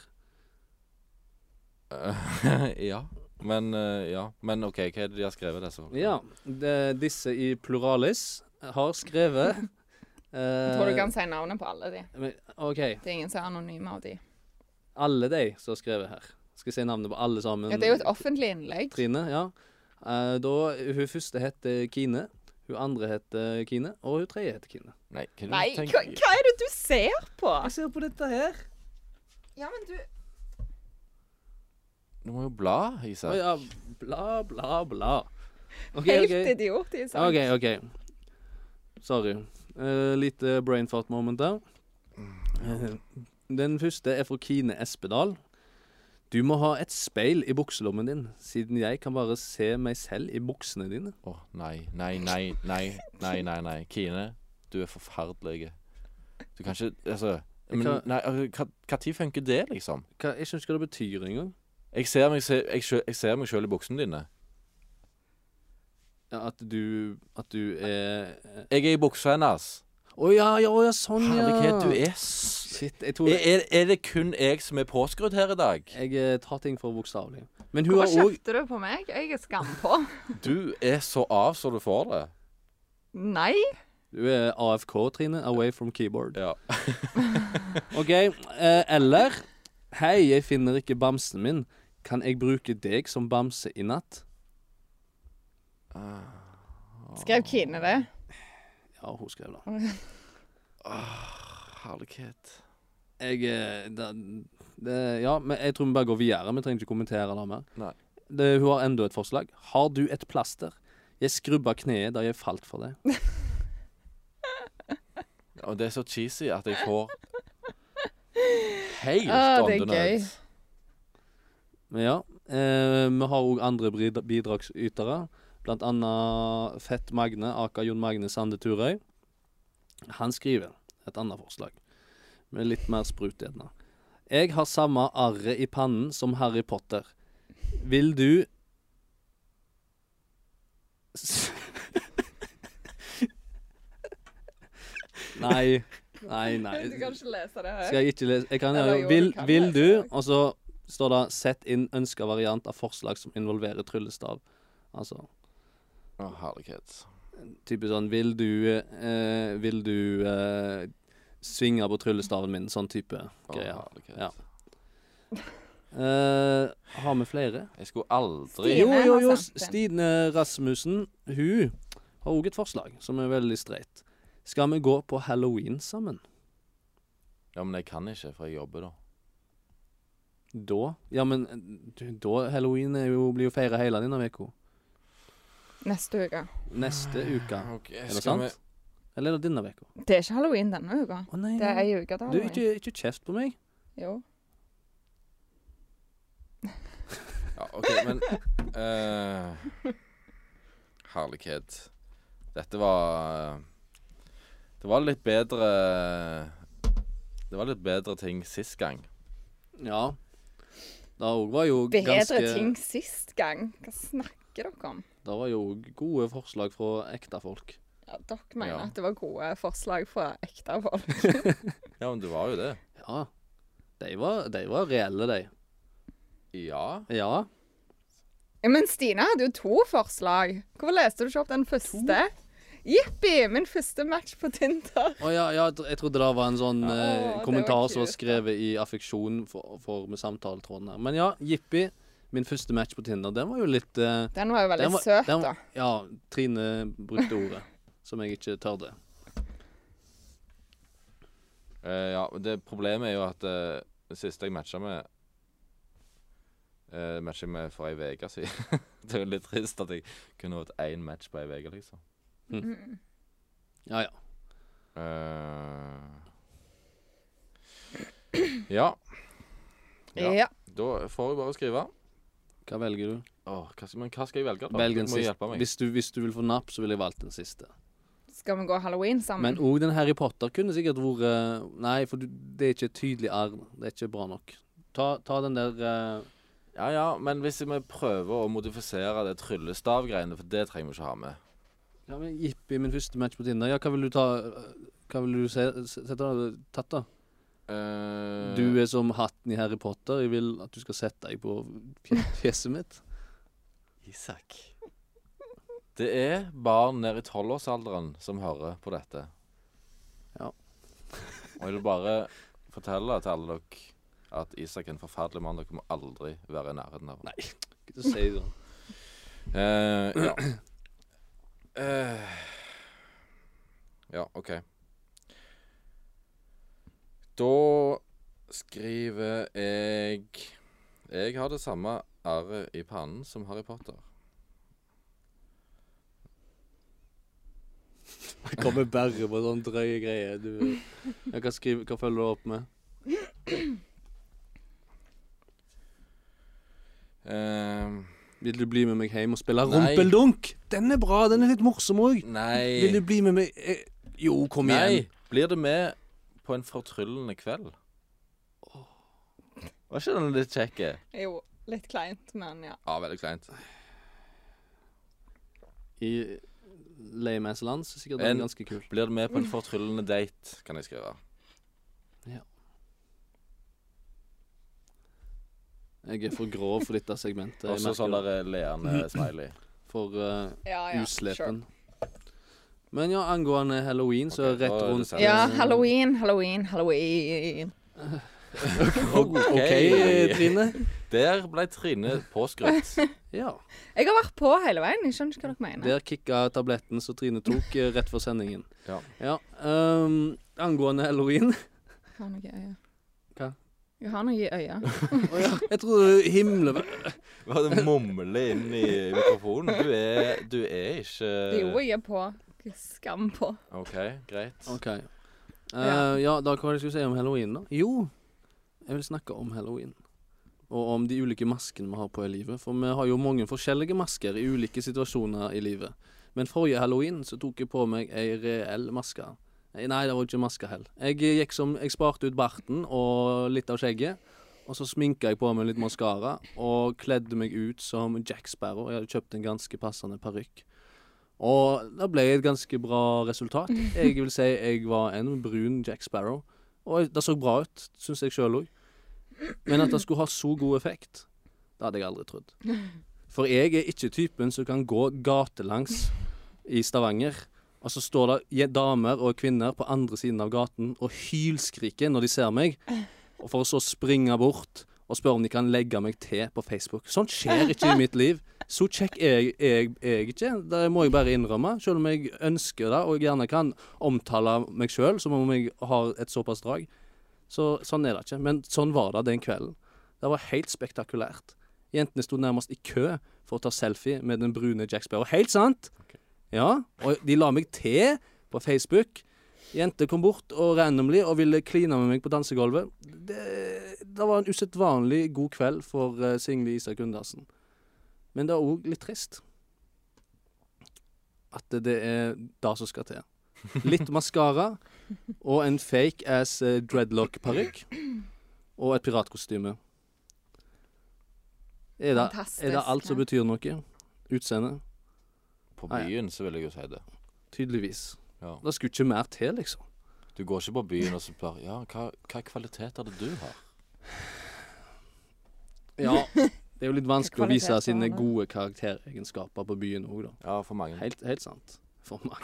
Eh, *laughs* ja. Men eh, ja. Men OK, hva er det de har skrevet, disse folkene?
Ja. Det, disse i pluralis har skrevet
Jeg *laughs* tror du kan
eh,
si navnet på alle de.
men, OK.
Det er ingen som er anonyme av de.
Alle de som har skrevet her. Skal jeg si navnet på alle sammen?
Ja, det er jo et offentlig innlegg.
Trine, ja. Eh, da, hun første heter Kine. Hun andre heter Kine, og hun tredje heter Kine.
Nei, hva er det du
Nei, hva,
tenker?
hva er det du ser på?
Jeg ser på dette her.
Ja, men du
Du må jo bla, Isak.
Å ja, bla, bla, bla. OK,
Helt
OK.
idiot, Isak.
OK. ok. Sorry. Eh, lite brain fart moment der. Eh,
Mm.
den første er fra Kine Espedal. Du må ha et speil i bukselommen din, siden jeg kan bare se meg selv i buksene dine.
Å, nei, nei, nei, nei, nei, nei, nei. Kine, du er forferdelig. Du kan ikke Altså
Jeg
men,
kan-
Nei, altså, hva- hva tid funker det, liksom?
Hva, jeg skjønner ikke hva det betyr engang.
Jeg ser meg, se, jeg, sjø- jeg ser meg sjøl i buksene dine.
Ja, at du At du er eh,
Jeg er i buksa hennes.
Å ja, ja, å ja, sånn, ja.
Herlighet, du er s...
Shit, jeg tror
Er, er, er det kun jeg som er påskrudd her i dag?
Jeg eh, tar ting for bokstavelig. Men hun
Hvorfor
har òg
kjefter du på meg? Jeg er skampå.
Du er så av så du får det.
Nei.
Du er AFK, Trine. Away from keyboard.
Ja.
OK. Eh, eller Hei, jeg finner ikke bamsen min. Kan jeg bruke deg som bamse i natt?
Ah,
Skrev Kine det?
Ja, hun skrev det.
ah, Herlighet.
Jeg eh, det, det, Ja, men jeg tror vi bare går videre. Vi trenger ikke kommentere det mer.
Nei.
Det, hun har enda et forslag. Har du et plaster? Jeg skrubba kneet da jeg falt for deg.
Og det er så cheesy at jeg *laughs* får helt
Å,
on
det er
the nuts.
Men ja. Eh, vi har òg andre brid- bidragsytere. Blant annet Fett Magne, aka Jon Magne Sande Turøy. Han skriver et annet forslag, med litt mer sprut i den. Jeg har samme arret i pannen som Harry Potter. Vil du *laughs* S- Nei. Nei, nei.
Du kan ikke lese det her.
Skal jeg ikke lese Jeg kan
Eller
gjøre
jo,
det.
du
Vil,
kan
vil
lese
du
det.
Og så står det 'Sett inn ønska variant av forslag som involverer tryllestav'. Altså
Å, herlighet.
typisk sånn Vil du eh, Vil du eh, svinge på tryllestaven min? Sånn type
Å,
greier.
herlighet.
Ja. Eh, har vi flere?
Jeg skulle aldri
Stine
Jo, jo,
har
jo.
sendt inn.
Stine Rasmussen, hun har òg et forslag som er veldig streit. Skal vi gå på halloween sammen?
Ja, men jeg kan ikke, for jeg jobber da.
Da? Ja, men du, da halloween er jo, blir jo feira hele denne uka.
Neste uke.
Neste uke.
Okay,
Er det sant? Eller er det denne uka?
Det er ikke halloween denne uka.
Å nei.
Det er
nei.
ei uke til
Du,
halloween.
ikke, ikke kjeft på meg.
Jo.
Ja, OK, men eh, Herlighet. Dette var Det var litt bedre Det var litt bedre ting sist gang.
Ja. Da òg var jo
Bedre
ganske
ting sist gang. Hva snakker dere om?
Da var jo gode forslag fra ekte folk.
Ja, dere mener
Ja.
at det var gode forslag fra ekte folk.
Ja, men det var jo det.
Ja. De var, de var reelle, de.
Ja.
Ja.
Ja, Men Stine hadde jo to forslag. Hvorfor leste du ikke opp den første? Jippi! Min første match på Tinder.
Å ja, ja, jeg tro- jeg trodde det var en sånn
Ja.
eh,
Å, det var
kommentar som var
cute.
skrevet i affeksjon for, for med samtaletråden her. Men ja, jippi. Min første match på Tinder, den var jo litt eh,
Den var jo veldig
den var-
søt,
den-
da.
Ja, Trine brukte ordet som jeg ikke tørde.
Eh, ja, men det Problemet er jo at eh, det siste jeg matcha med uh, Matcha jeg med for ei uke siden. *laughs* det er jo litt trist at jeg kunne hatt én match på ei uke, liksom.
Mm.
Ja, ja.
Eh, ja.
Ja.
Ja. Da får jeg bare skrive.
Hva velger du?
Åh, hva skal, men hva skal jeg velge, da?
Velg
Du
en
må hjelpe
siste.
meg.
Hvis du, hvis du vil få napp, så ville jeg valgt den siste.
Skal vi gå halloween sammen?
Men òg den Harry Potter kunne sikkert vært eh, Nei, for du, det er ikke et tydelig R. Det er ikke bra nok. Ta, ta den der eh,
Ja, ja, men hvis vi prøver å modifisere det tryllestavgreiene, for det trenger vi ikke ha med.
Ja, men Jippi, min første match på Tinder. Ja, hva vil du ta eh, Hva vil du se, sette deg tatt, da?
Eh,
Du er som hatten i Harry Potter. Jeg vil at du skal sette deg på fje- fjeset mitt.
Isak. Det er barn nede i tolvårsalderen som hører på dette.
Ja.
Og jeg vil bare fortelle til alle dere at Isak er en forferdelig mann. Dere må aldri være i nærheten av ham.
Nei, ikke si sånn.
Eh, ja. Eh, ja, OK. Da skriver jeg Jeg har det samme arret i pannen som Harry Potter.
Jeg kommer bare på sånne drøye greier. Du, jeg kan skrive, hva følger du opp med?
Eh,
Vil du bli med meg hjem og spille
Nei.
rumpeldunk? Den er bra. Den er litt morsom òg.
nei
Vil du bli med meg eh, Jo, kom
Nei!
igjen.
Blir du med på en fortryllende kveld? Var ikke den litt kjekk?
Jo, litt kleint, men ja.
Ja, veldig kleint.
I layman's land så er sikkert den
En-
ganske kul.
Blir du med på en fortryllende date, kan jeg skrive.
Jeg er for grov for dette segmentet. Jeg
Også
merker
sånn
det. Mm.
der leende smiley.
For eh,
ja, Ah, ja.
uslepen. Men ja, angående halloween, så
Ok,
rett
da er det
rundt eh,
sant.
Sure. Ja, halloween, halloween, halloween.
*laughs* OK, Trine.
Der ble Trine påskrutt.
Ja.
Jeg har vært på hele veien. Jeg skjønner ikke hva dere mener.
Der kicka tabletten som Trine tok eh, rett før sendingen.
Ja.
*laughs* Ja, ehm, angående halloween
*laughs* Jeg har noe i øyet.
Hva? Eh,
Jeg har noe i øyet.
Å ja, Jeg trodde himmelen
Vi hadde mumle inn i mikrofonen. Du er, du er ikke
Jo, jeg er på. Skam på.
OK, greit.
OK. Eh,
Ja.
ja, da hva var det jeg skulle si om halloween, da? Jo, jeg vil snakke om halloween. Og om de ulike maskene vi har på i livet. For vi har jo mange forskjellige masker i ulike situasjoner i livet. Men forrige halloween så tok jeg på meg ei reell maske. Nei, nei, det var ikke maske heller. Jeg gikk som Jeg sparte ut barten og litt av skjegget. Og så sminka jeg på meg litt maskara og kledde meg ut som Jack Sparrow. Jeg hadde kjøpt en ganske passende parykk. Og det ble et ganske bra resultat. Jeg vil si jeg var en brun Jack Sparrow. Og det så bra ut, syns jeg sjøl òg. Men at det skulle ha så god effekt, det hadde jeg aldri trodd. For jeg er ikke typen som kan gå gatelangs i Stavanger, og så står det je- damer og kvinner på andre siden av gaten og hylskriker når de ser meg, og for å så springe bort og spørre om de kan legge meg til på Facebook. Sånt skjer ikke i mitt liv. Så kjekk er jeg, er jeg, er jeg ikke. Det må jeg bare innrømme. Selv om jeg ønsker det og gjerne kan omtale meg sjøl som om jeg har et såpass drag. Så sånn er det ikke. Men sånn var det den kvelden. Det var helt spektakulært. Jentene sto nærmest i kø for å ta selfie med den brune Jack Sparrow. Helt sant! Ja, og de la meg til på Facebook. Jenter kom bort og randomly og ville kline med meg på dansegulvet. Det, det var en usedvanlig god kveld for eh, Signy Isak Gundersen. Men det er òg litt trist at det er det som skal til. Litt maskara og en fake ass eh, dreadlock-parykk. Og et piratkostyme. Er det,
Fantastisk.
er det alt som
ja.
betyr noe? Utseende?
På
Ah, ja.
byen så vil jeg jo si det.
Tydeligvis.
Ja.
Det skulle ikke mer til, liksom.
Du går ikke på byen og så spør Ja, hva, hva kvalitet er det du har?
Ja,
*laughs*
det er jo litt vanskelig å
Kvalitet
vise
på
sine
henne.
gode karakteregenskaper på byen òg, da.
Ja, for mange.
Helt, helt sant. For meg.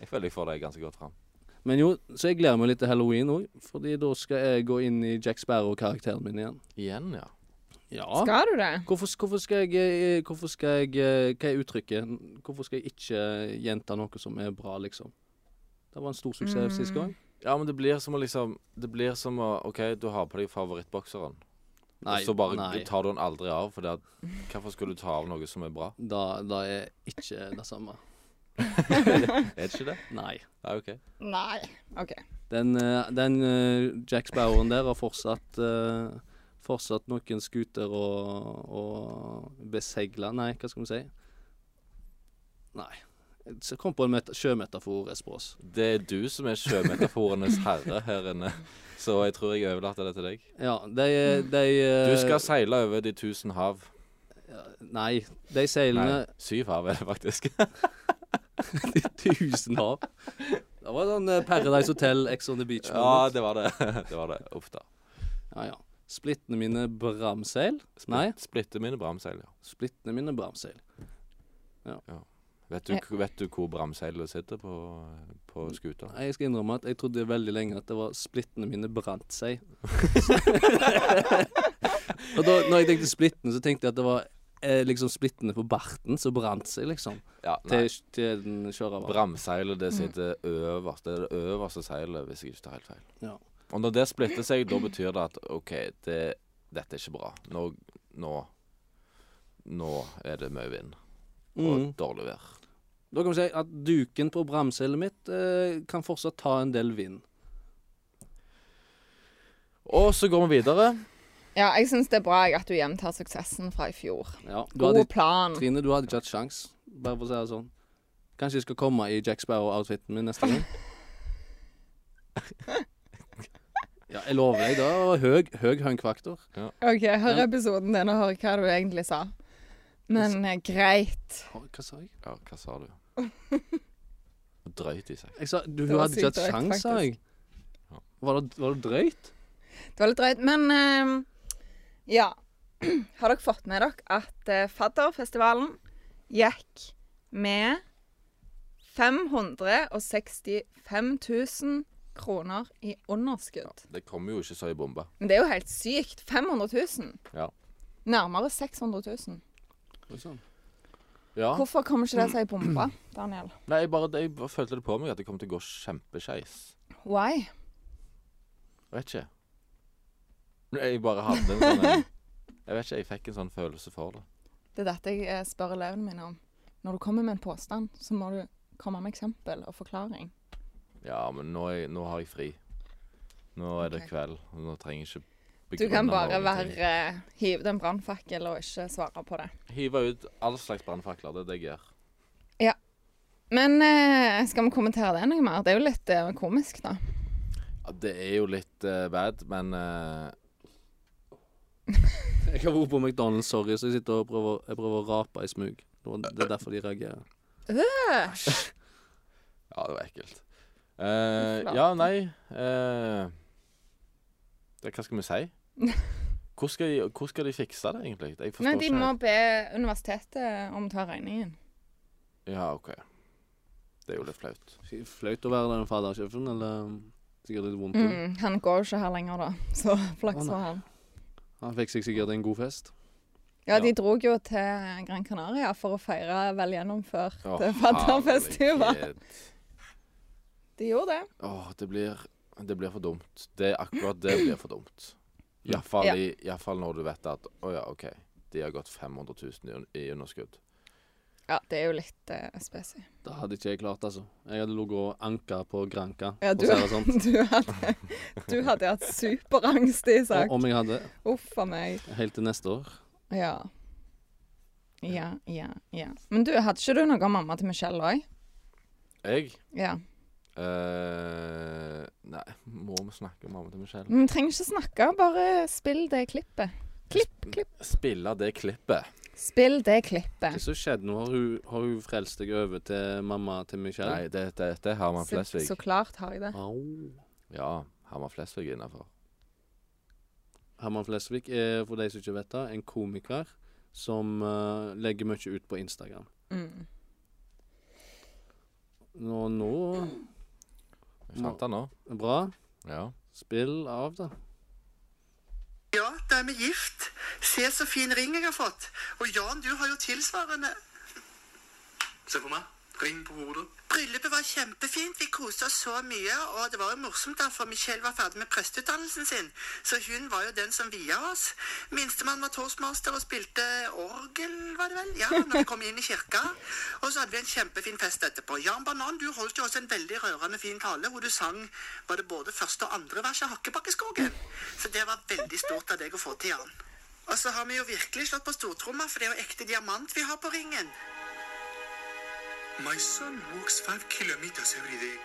Jeg føler jeg får deg ganske godt fram.
Men jo, så jeg gleder meg litt til halloween òg, fordi da skal jeg gå inn i Jack Sparrow-karakteren min igjen.
Igjen, ja.
Ja.
Skal du det?
Hvorfor, hvorfor skal jeg eh, Hvorfor skal jeg eh, Hva er uttrykket? Hvorfor skal jeg ikke gjenta noe som er bra, liksom? Det var en stor suksess
Mm.
sist gang.
Ja, men det blir som å liksom Det blir som å OK, du har på deg favorittbokseren,
Nei.
og så bare
nei.
tar du den aldri av, for det at Hvorfor skulle du ta av noe som er bra?
Da, da er ikke det samme.
*laughs* Er det ikke det?
Nei.
Ja, OK.
Nei. OK.
Den, eh, den eh, Jack Sparrowen der har fortsatt eh, Fortsatt noen skuter å, å besegle Nei, hva skal vi si? Nei. Så kom på en meta sjømetafor, Espros.
Det er du som er sjømetaforenes herre her inne, så jeg tror jeg overlater det til deg.
Ja, de, de eh,
Du skal seile over de tusen hav.
Nei, de
Nei,
seilene
syv hav er det faktisk.
*laughs* Tusen hav. Det var sånn eh, Paradise Hotel, Ex on the Beach.
*laughs* Ja,
moment.
det var det. *laughs* Det var det. Uff da.
ja, ja. Splittene mine bramseil. Nei,
Splitt, splitte mine bramseil, ja.
splittene mine bramseil.
Vet du, vet du hvor bramseilet sitter på, på skuta?
Nei, Jeg skal innrømme at jeg trodde veldig lenge at det var splittene mine brant seg. og da når jeg tenkte splittene, så tenkte jeg at det var eh, liksom splittene på barten som brant seg, liksom.
Ja,
Til, til den kjøravaren.
Bramseilet det sitter øverst. Det er det øverste seilet, hvis jeg ikke tar helt feil.
Ja.
Og når det splitter seg, da betyr det at OK, det, dette er ikke bra. Nå, nå Nå er det mye vind og
Mm.
dårlig vær.
Da kan vi si at duken på bramseilet mitt eh, kan fortsatt ta en del vind.
Og så går vi videre.
Ja, jeg syns det er bra jeg, at du gjentar suksessen fra i fjor.
Ja, du
God
hadde,
plan.
Trine, du hadde ikke hatt sjans, bare for å si det sånn. Kanskje jeg skal komme i Jack Sparrow-outfiten min neste gang. Ja, jeg lover deg, det var høg, høg hønkvaktor.
OK, hør
Ja.
episoden din og hør hva du egentlig sa. Men eh, greit.
Hva hva sa jeg?
Ja, hva sa du? Drøyt i seg.
Jeg sa, du,
Det
hun
var
hadde
sykt
ikke hatt
drøyt,
sjans, sa jeg.
Ja.
Var det, var det drøyt?
Det var litt drøyt. Men eh, ja. *clears throat* Har dere fått med dere at eh, Fadderfestivalen gikk med 565 000 kroner i underskudd?
Det kommer jo ikke så i bombe.
Men det er jo helt sykt. 500 000.
Ja.
Nærmere 600 000.
Oi, sånn.
Ja.
Hvorfor kommer ikke det seg i *clears throat* bomba, Daniel?
Nei, jeg bare, jeg bare følte det på meg at det kom til å gå kjempeskeis.
Why?
Vet ikke. Nei, Jeg bare hadde en sånn en- Jeg vet ikke, jeg fikk en sånn følelse for det.
Det er dette jeg eh, spør elevene mine om. Når du kommer med en påstand, så må du komme med eksempel og forklaring.
Ja, men nå, er, jeg- nå har jeg fri. Nå er det
Ok.
kveld, og nå trenger jeg ikke
Du kan
begrunne
bare
noen ting.
være Hive den brannfakkel og ikke svare på det.
Hive ut all slags brannfakler. Det er det jeg gjør.
Men eh, skal vi kommentere det noe mer? Det er jo litt eh, komisk, da.
Ja, det er jo litt eh, bad, men eh,
Jeg har vært på McDonald's, sorry, så jeg sitter og prøver, jeg prøver å rape i smug. Det var- Det er derfor de reagerer.
Ja, det var ekkelt. Eh,
Flate.
ja, nei eh, det, Hva skal vi
*laughs*
si? Hvor skal, de, hvor skal de fikse det, egentlig? Jeg forstår
Nei, de
ikke
må
helt.
be universitetet om å ta regningen.
Ja, OK. Det er jo litt flaut.
Sk- Flaut å være den fadersjefen, eller um, sikkert litt vondt.
Mm, han går jo ikke her lenger, da. *laughs* Så flaks
Å, nei.
for han.
Han fikk seg sikkert en god fest.
Ja,
Ja.
de drog jo til Gran Canaria for å feire vel gjennomført
Å,
eh, fadderfestival.
herregud.
De gjorde det.
Åh, det blir Det blir for dumt. Det er akkurat det blir for dumt. Iallfall
Ja.
i, i hvert fall når du vet at Å ja, OK. De har gått 500 000 i, un- i underskudd.
Ja, det er jo litt eh, spesielt.
Det hadde ikke jeg klart, altså. Jeg hadde ligget og anka på granka.
Ja, du,
for å si det
*laughs*
sånn.
du, hadde, du hadde hatt superangst i
Og
sak.
om jeg hadde
Uff a meg.
helt til neste år
Ja. Ja, ja, ja. Men du, hadde ikke du noe av mamma til Michelle òg?
Jeg
Ja.
eh, Nei, må vi snakke om mamma til Michelle?
Men vi trenger ikke snakke, bare spill det klippet. Klipp, klipp.
Spille det klippet.
Spill det
Hva
klippet.
som skjedde nå? Har hun, har hun frelst deg over til mamma til Michelle?
Nei, det, det, det er Herman
Så,
Flesvig.
så klart har jeg det.
Au.
Ja, Herman Flesvig er innafor.
Herman Flesvig er, for de som ikke vet det, en komiker som eh, legger mye ut på Instagram.
Mm.
Nå, nå
Fant han nå?
Bra.
Ja.
Spill av, da.
Ja, da er vi gift. Se så fin ring jeg har fått. Og Jan, du har jo tilsvarende. Se på meg. Ring på hodet. Bryllupet var kjempefint. Vi koste oss så mye. Og det var jo morsomt, da, for Michelle var ferdig med presteutdannelsen sin. Så hun var jo den som via oss. Minstemann var toastmaster og spilte orgel, var det vel? Ja, når vi kom inn i kirka. Og så hadde vi en kjempefin fest etterpå. Jan Banan, du holdt jo også en veldig rørende fin tale hvor du sang var det både første og andre vers av Hakkebakkeskogen. Så det var veldig stort av deg å få til, Jan. Og så har vi jo virkelig slått på stortromma, for det er jo ekte diamant vi har på ringen. My son walks five kilometers every day.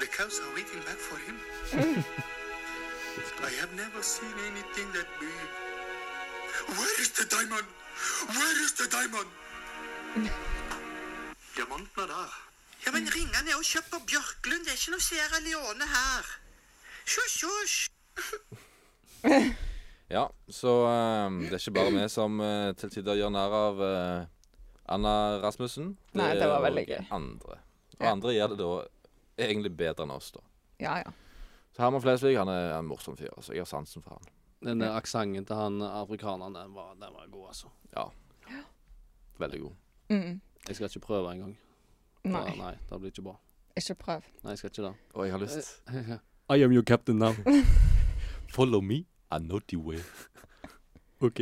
The cows are waiting back for him. I have never seen anything that big. Where is the diamond? Where is the diamond? Diamanten er der. Ja, men ringene er jo kjøpt på Bjørklund. Det er ikke noe Sierra Leone her. Sjosj, sjosj.
ja så eh, det er ikke bare vi som eh, til tider gjør narr av eh, Anna Rasmussen.
Nei, det var veldig
er også
gøy.
Andre. Og
Ja.
andre gjør det da egentlig bedre enn oss, da.
Ja, ja.
Så Herman Flesvig han er en morsom fyr. altså Jeg har sansen for han.
Den der aksenten til han afrikaneren, den var, den var god, altså.
Veldig god.
Mm.
Jeg skal ikke prøve engang.
Nei,
Nei, det blir ikke bra.
ikke prøv.
Nei, jeg skal ikke det. *laughs*
Og jeg har lyst
Eh.
I am your captain now. *laughs*
Follow me, I know the way.
OK.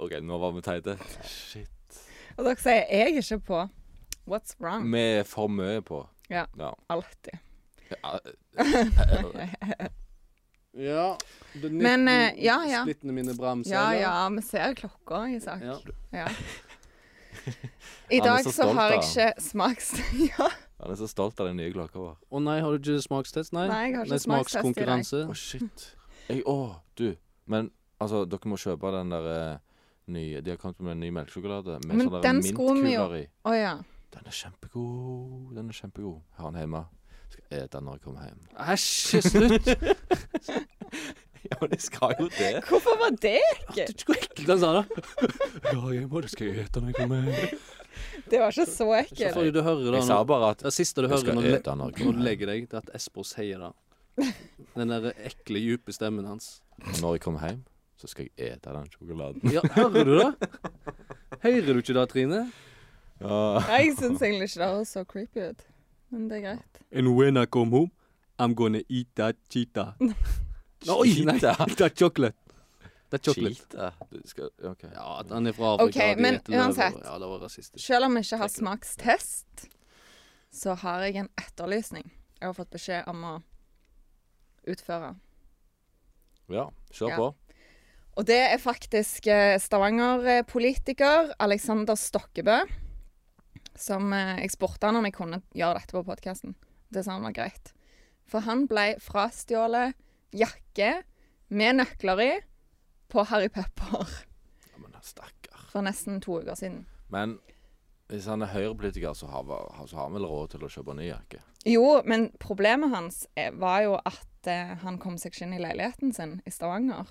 OK, nå var vi teite.
Og dere sier 'jeg er ikke på'. What's wrong?
Vi er for mye på.
Ja.
ja.
Alltid.
Ja, eh,
*laughs*
Ja. det
Men,
nitten-
eh, ja, ja.
Splittene mine bremser.
Ja,
eller?
ja, vi ser klokka, Isak.
Ja.
Ja. I
Han er
dag
så
så
stolt
har jeg
av han.
ikke smakt *laughs* Ja,
Han er så stolt av den nye klokka vår.
Å nei, har du ikke smakstest? Nei,
Nei, jeg har ikke
Det er
smakstest i dag.
smakskonkurranse. *laughs*
Å, shit. Jeg, å, du. Men altså, dere må kjøpe den der eh, nye De har kommet med en ny melkesjokolade med
Men
sånne der
den skulle vi jo-
mintkuler i.
å ja.
Den er kjempegod. Den er kjempegod. Har den hjemme. Skal ete den når jeg kommer
*laughs*
hjem.
Æsj,
*laughs*
slutt!
Ja, men jeg skal jo det.
Hvorfor var det ikke?
Den sa det. Ja, jeg må, det skal jeg ete når jeg kommer hjem.
Det var ikke så
Så
ekkelt.
får du høre det
Jeg sa
nå.
bare at
Det siste du
Jeg
hører
skal
når du, le-
ete når jeg
når
kommer
du
hjem.
legger deg, det er at Espen sier det. Den der ekle, dype stemmen hans.
Når jeg kommer hjem, så skal jeg ete den sjokoladen.
*laughs* Ja, hører du det? Hører du ikke det, Trine?
Ja.
Nei, Jeg syns egentlig ikke det høres så creepy ut. Men det er greit.
And when I come home, I'm gonna eat that cheetah. Oi, nei,
Cheetah.
that chocolate. That chocolate.
Cheetah. Du skal OK.
Ja, at han er fra Afrika.
Ok,
og de
men
heter løver.
uansett.
Ja, det var rasistisk.
Selv om vi ikke har smakstest, så har jeg en etterlysning. Jeg har fått beskjed om å utføre.
Ja, kjør
Ja.
på.
Og det er faktisk eh, Stavanger-politiker Alexander Stokkebø. Som eh, jeg spurte han om jeg kunne gjøre dette på podkasten. Det sa han var greit. For han ble frastjålet jakke med nøkler i på Harry Pepper
Ja, men stakkar.
for nesten to uker siden.
Men hvis han er høyrepolitiker, så har, han- så har han vel råd til å kjøpe ny jakke.
Jo, men problemet hans eh, var jo at eh, han kom seg ikke inn i leiligheten sin i Stavanger.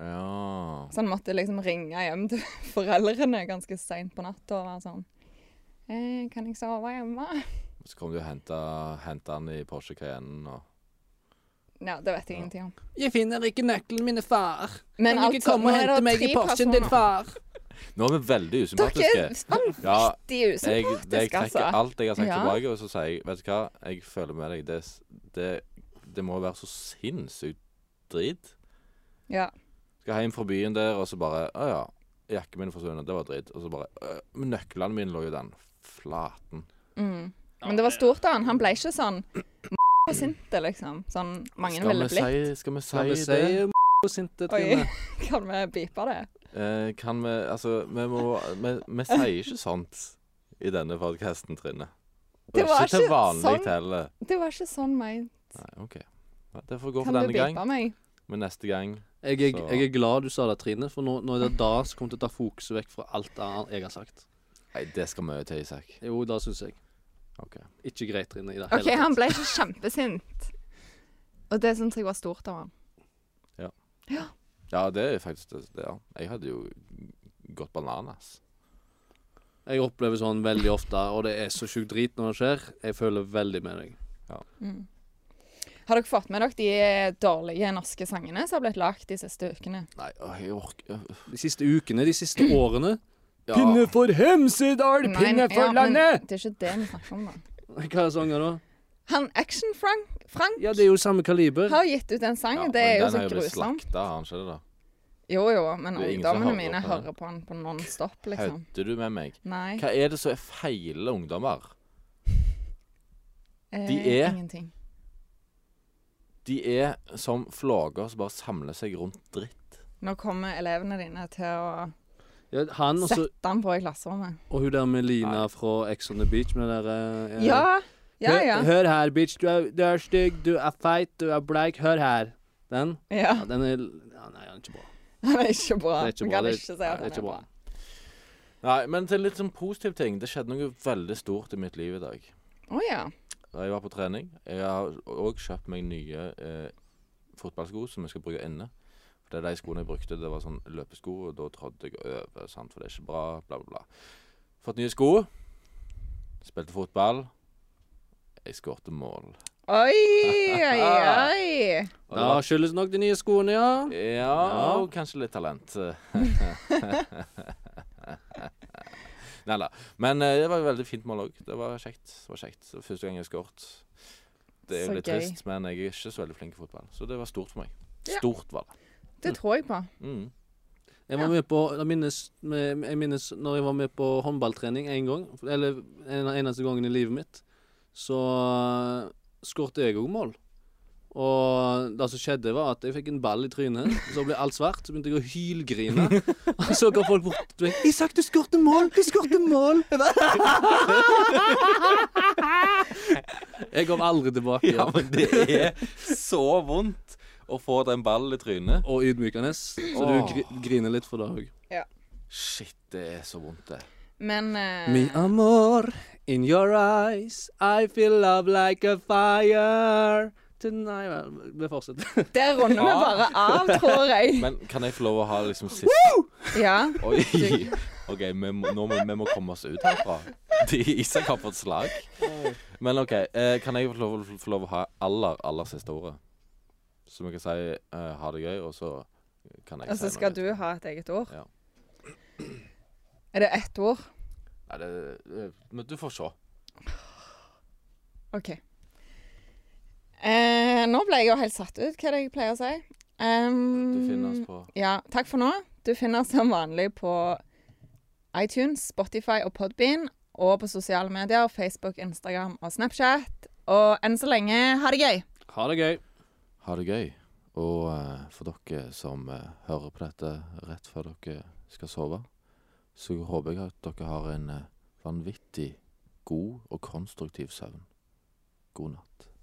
Ja
Så han måtte liksom ringe hjem til *laughs* foreldrene ganske seint på natta og være sånn eh, 'Kan jeg sove hjemme?'
Så kom de og henta henta han i Porsche Cayenne og
Ja, det vet jeg ingenting om.
Jeg finner ikke nøkkelen min, far.
Men
kan du ikke
altså,
komme og
nå er
hente
det
meg i
tre
Porschen din,
personer.
far?
Nå er vi veldig
Dere er
usympatiske. eh. Ja,
vanvittig
Jeg, det, jeg
usympatiske,
trekker
altså.
alt jeg har sagt
Ja.
tilbake, og så sier jeg Vet du hva, jeg føler med deg. Det, s- det, det må være så sinnssykt drit.
Ja.
Skal hjem fra byen der, og så bare Å ja, jakken min forsvunnet. Det var dritt. Og så bare «Øh, Men nøklene mine lå jo i den flaten.
Mm. Men det var stort av han. Han ble ikke sånn *clears throat* og sint, liksom. Sånn mange
Skal
ville
vi
blitt.
si, skal vi si,
Kan vi si
det?
m*** og sinte,
Oi.
Trine?
Kan vi beepe det?
Eh, kan vi Altså, vi må Vi, vi sier ikke sånt i denne podkasten, Trine. Og
Det var
ikke til
ikke
vanlig
sånn.
heller.
Det var ikke sånn meint.
Nei, OK. Ja, Det får gå for
Kan du
denne gang.
beepe meg?
Men neste gang
Jeg, jeg,
Så-
jeg er glad du sa det, Trine, for nå, nå er det da som kommer til å ta fokuset vekk fra alt annet jeg har sagt.
Nei, det skal mye til, Isak.
Jo, da syns jeg.
OK.
Ikke greit, Trine, i det
OK,
hele
han ble ikke kjempesint. Og det syns jeg var stort av han.
Ja, det er faktisk det. det, Ja. Jeg hadde jo gått bananas.
Jeg opplever sånn veldig ofte, og det er så sjukt drit når det skjer. Jeg føler veldig med deg.
Har dere fått med dere de dårlige norske sangene som har blitt lagd de siste ukene?
Nei, åh, jeg orker øh,
De siste ukene, de siste *clears throat* årene.
ja.
for Hemsedal,
ja, men det er ikke det vi snakker om, da.
Hva er sangen da?
Han Action-Frank Frank
Ja, det er jo samme kaliber.
har gitt ut en sang.
Ja,
det er
men
jo
den
så
har blitt
grusomt.
slakta, har han ikke det? da?
Jo jo, men
Det er ingen som
ungdommene
hører
mine
på den.
hører på han på non-stop, liksom.
Kødder du med meg?
Nei.
Hva er det som er feil ungdommer?
eh,
de er-
Ingenting.
De er som flåger som bare samler seg rundt dritt.
Nå kommer elevene dine til å
Ja, han og så-
sette han på i klasserommet.
og hun der med Lina fra Ex on the Beach med det der eh,
Ja, ja, ja.
Hør, hør her, bitch. Du er, du er stygg, du er feit, du er bleik. Hør her. Den?
ja. *laughs*
Ja, den er ja, Nei, den er ikke bra.
Han er ikke bra.
Det er ikke
Man
bra.
kan
Det er-
ikke si at
nei, det
han
er
er
ikke
bra.
bra.
Nei, men til litt sånn positiv ting. Det skjedde noe veldig stort i mitt liv i dag.
Å ja.
Da Jeg var på trening. Jeg har òg kjøpt meg nye eh, fotballsko som jeg skal bruke inne. For det er de skoene jeg brukte, det var sånn løpesko, og da trådde jeg over, sant, for det er ikke bra, bla, bla, bla. Fått nye sko. Spilte fotball. Jeg skårte mål.
Oi,
*laughs*
oi, oi.
Og det
Da
var-
skyldes nok de nye skoene, ja.
Ja, og kanskje litt talent. *laughs* Nei da. Men eh, det var et veldig fint mål òg. Det var kjekt. Det var kjekt. Det var første gang jeg skåret. Det er
Så
jo litt
gøy.
trist, men jeg er ikke så veldig flink i fotball. Så det var stort for meg.
Ja.
Stort var det.
Det tror jeg på.
Mm.
Jeg var med på Jeg minnes, jeg minnes når jeg var med på håndballtrening en gang, eller en av eneste gangen i livet mitt, så skårte jeg òg mål. Og det som skjedde, var at jeg fikk en ball i trynet. Så ble alt svart. Så begynte jeg å hylgrine.
*laughs*
Og så kom folk bort til meg. 'Isak, du skårte mål! Du skårte
*laughs*
mål!' Jeg kom aldri tilbake.
*laughs* Ja, men det er så vondt å få den ballen i trynet.
Og ydmykende. Så du
Åh.
gri griner litt for det òg.
Shit, det er så vondt, det.
Men eh,
Mi amor, in your eyes, I feel love like a fire Tonight Vel, Vi fortsetter.
der runder vi
Ja.
bare av, tror jeg.
*laughs* Men kan jeg få lov å ha liksom siste
Ja. *laughs*
Oi. OK, vi må, nå må, vi må komme oss ut herfra. De Isak har fått slag. Men OK, eh, kan jeg få lov, få lov å ha aller, aller siste ordet? Så vi kan si eh, ha det gøy, og så kan jeg
Og så
si
skal
noe.
du ha et eget ord.
Ja.
Er det ett ord?
Nei, det, det- men du får se.
OK. Eh, nå ble jeg jo helt satt ut, hva er det jeg pleier å si? Em,
Du finner oss på
Ja, takk for nå. Du finner oss som vanlig på iTunes, Spotify og Podbean, og på sosiale medier, Facebook, Instagram og Snapchat. Og enn så lenge, ha det gøy!
Ha det gøy.
Ha det gøy. Og eh, for dere som eh, hører på dette rett før dere skal sove, så håper jeg at dere har en eh, vanvittig god og konstruktiv søvn. God natt.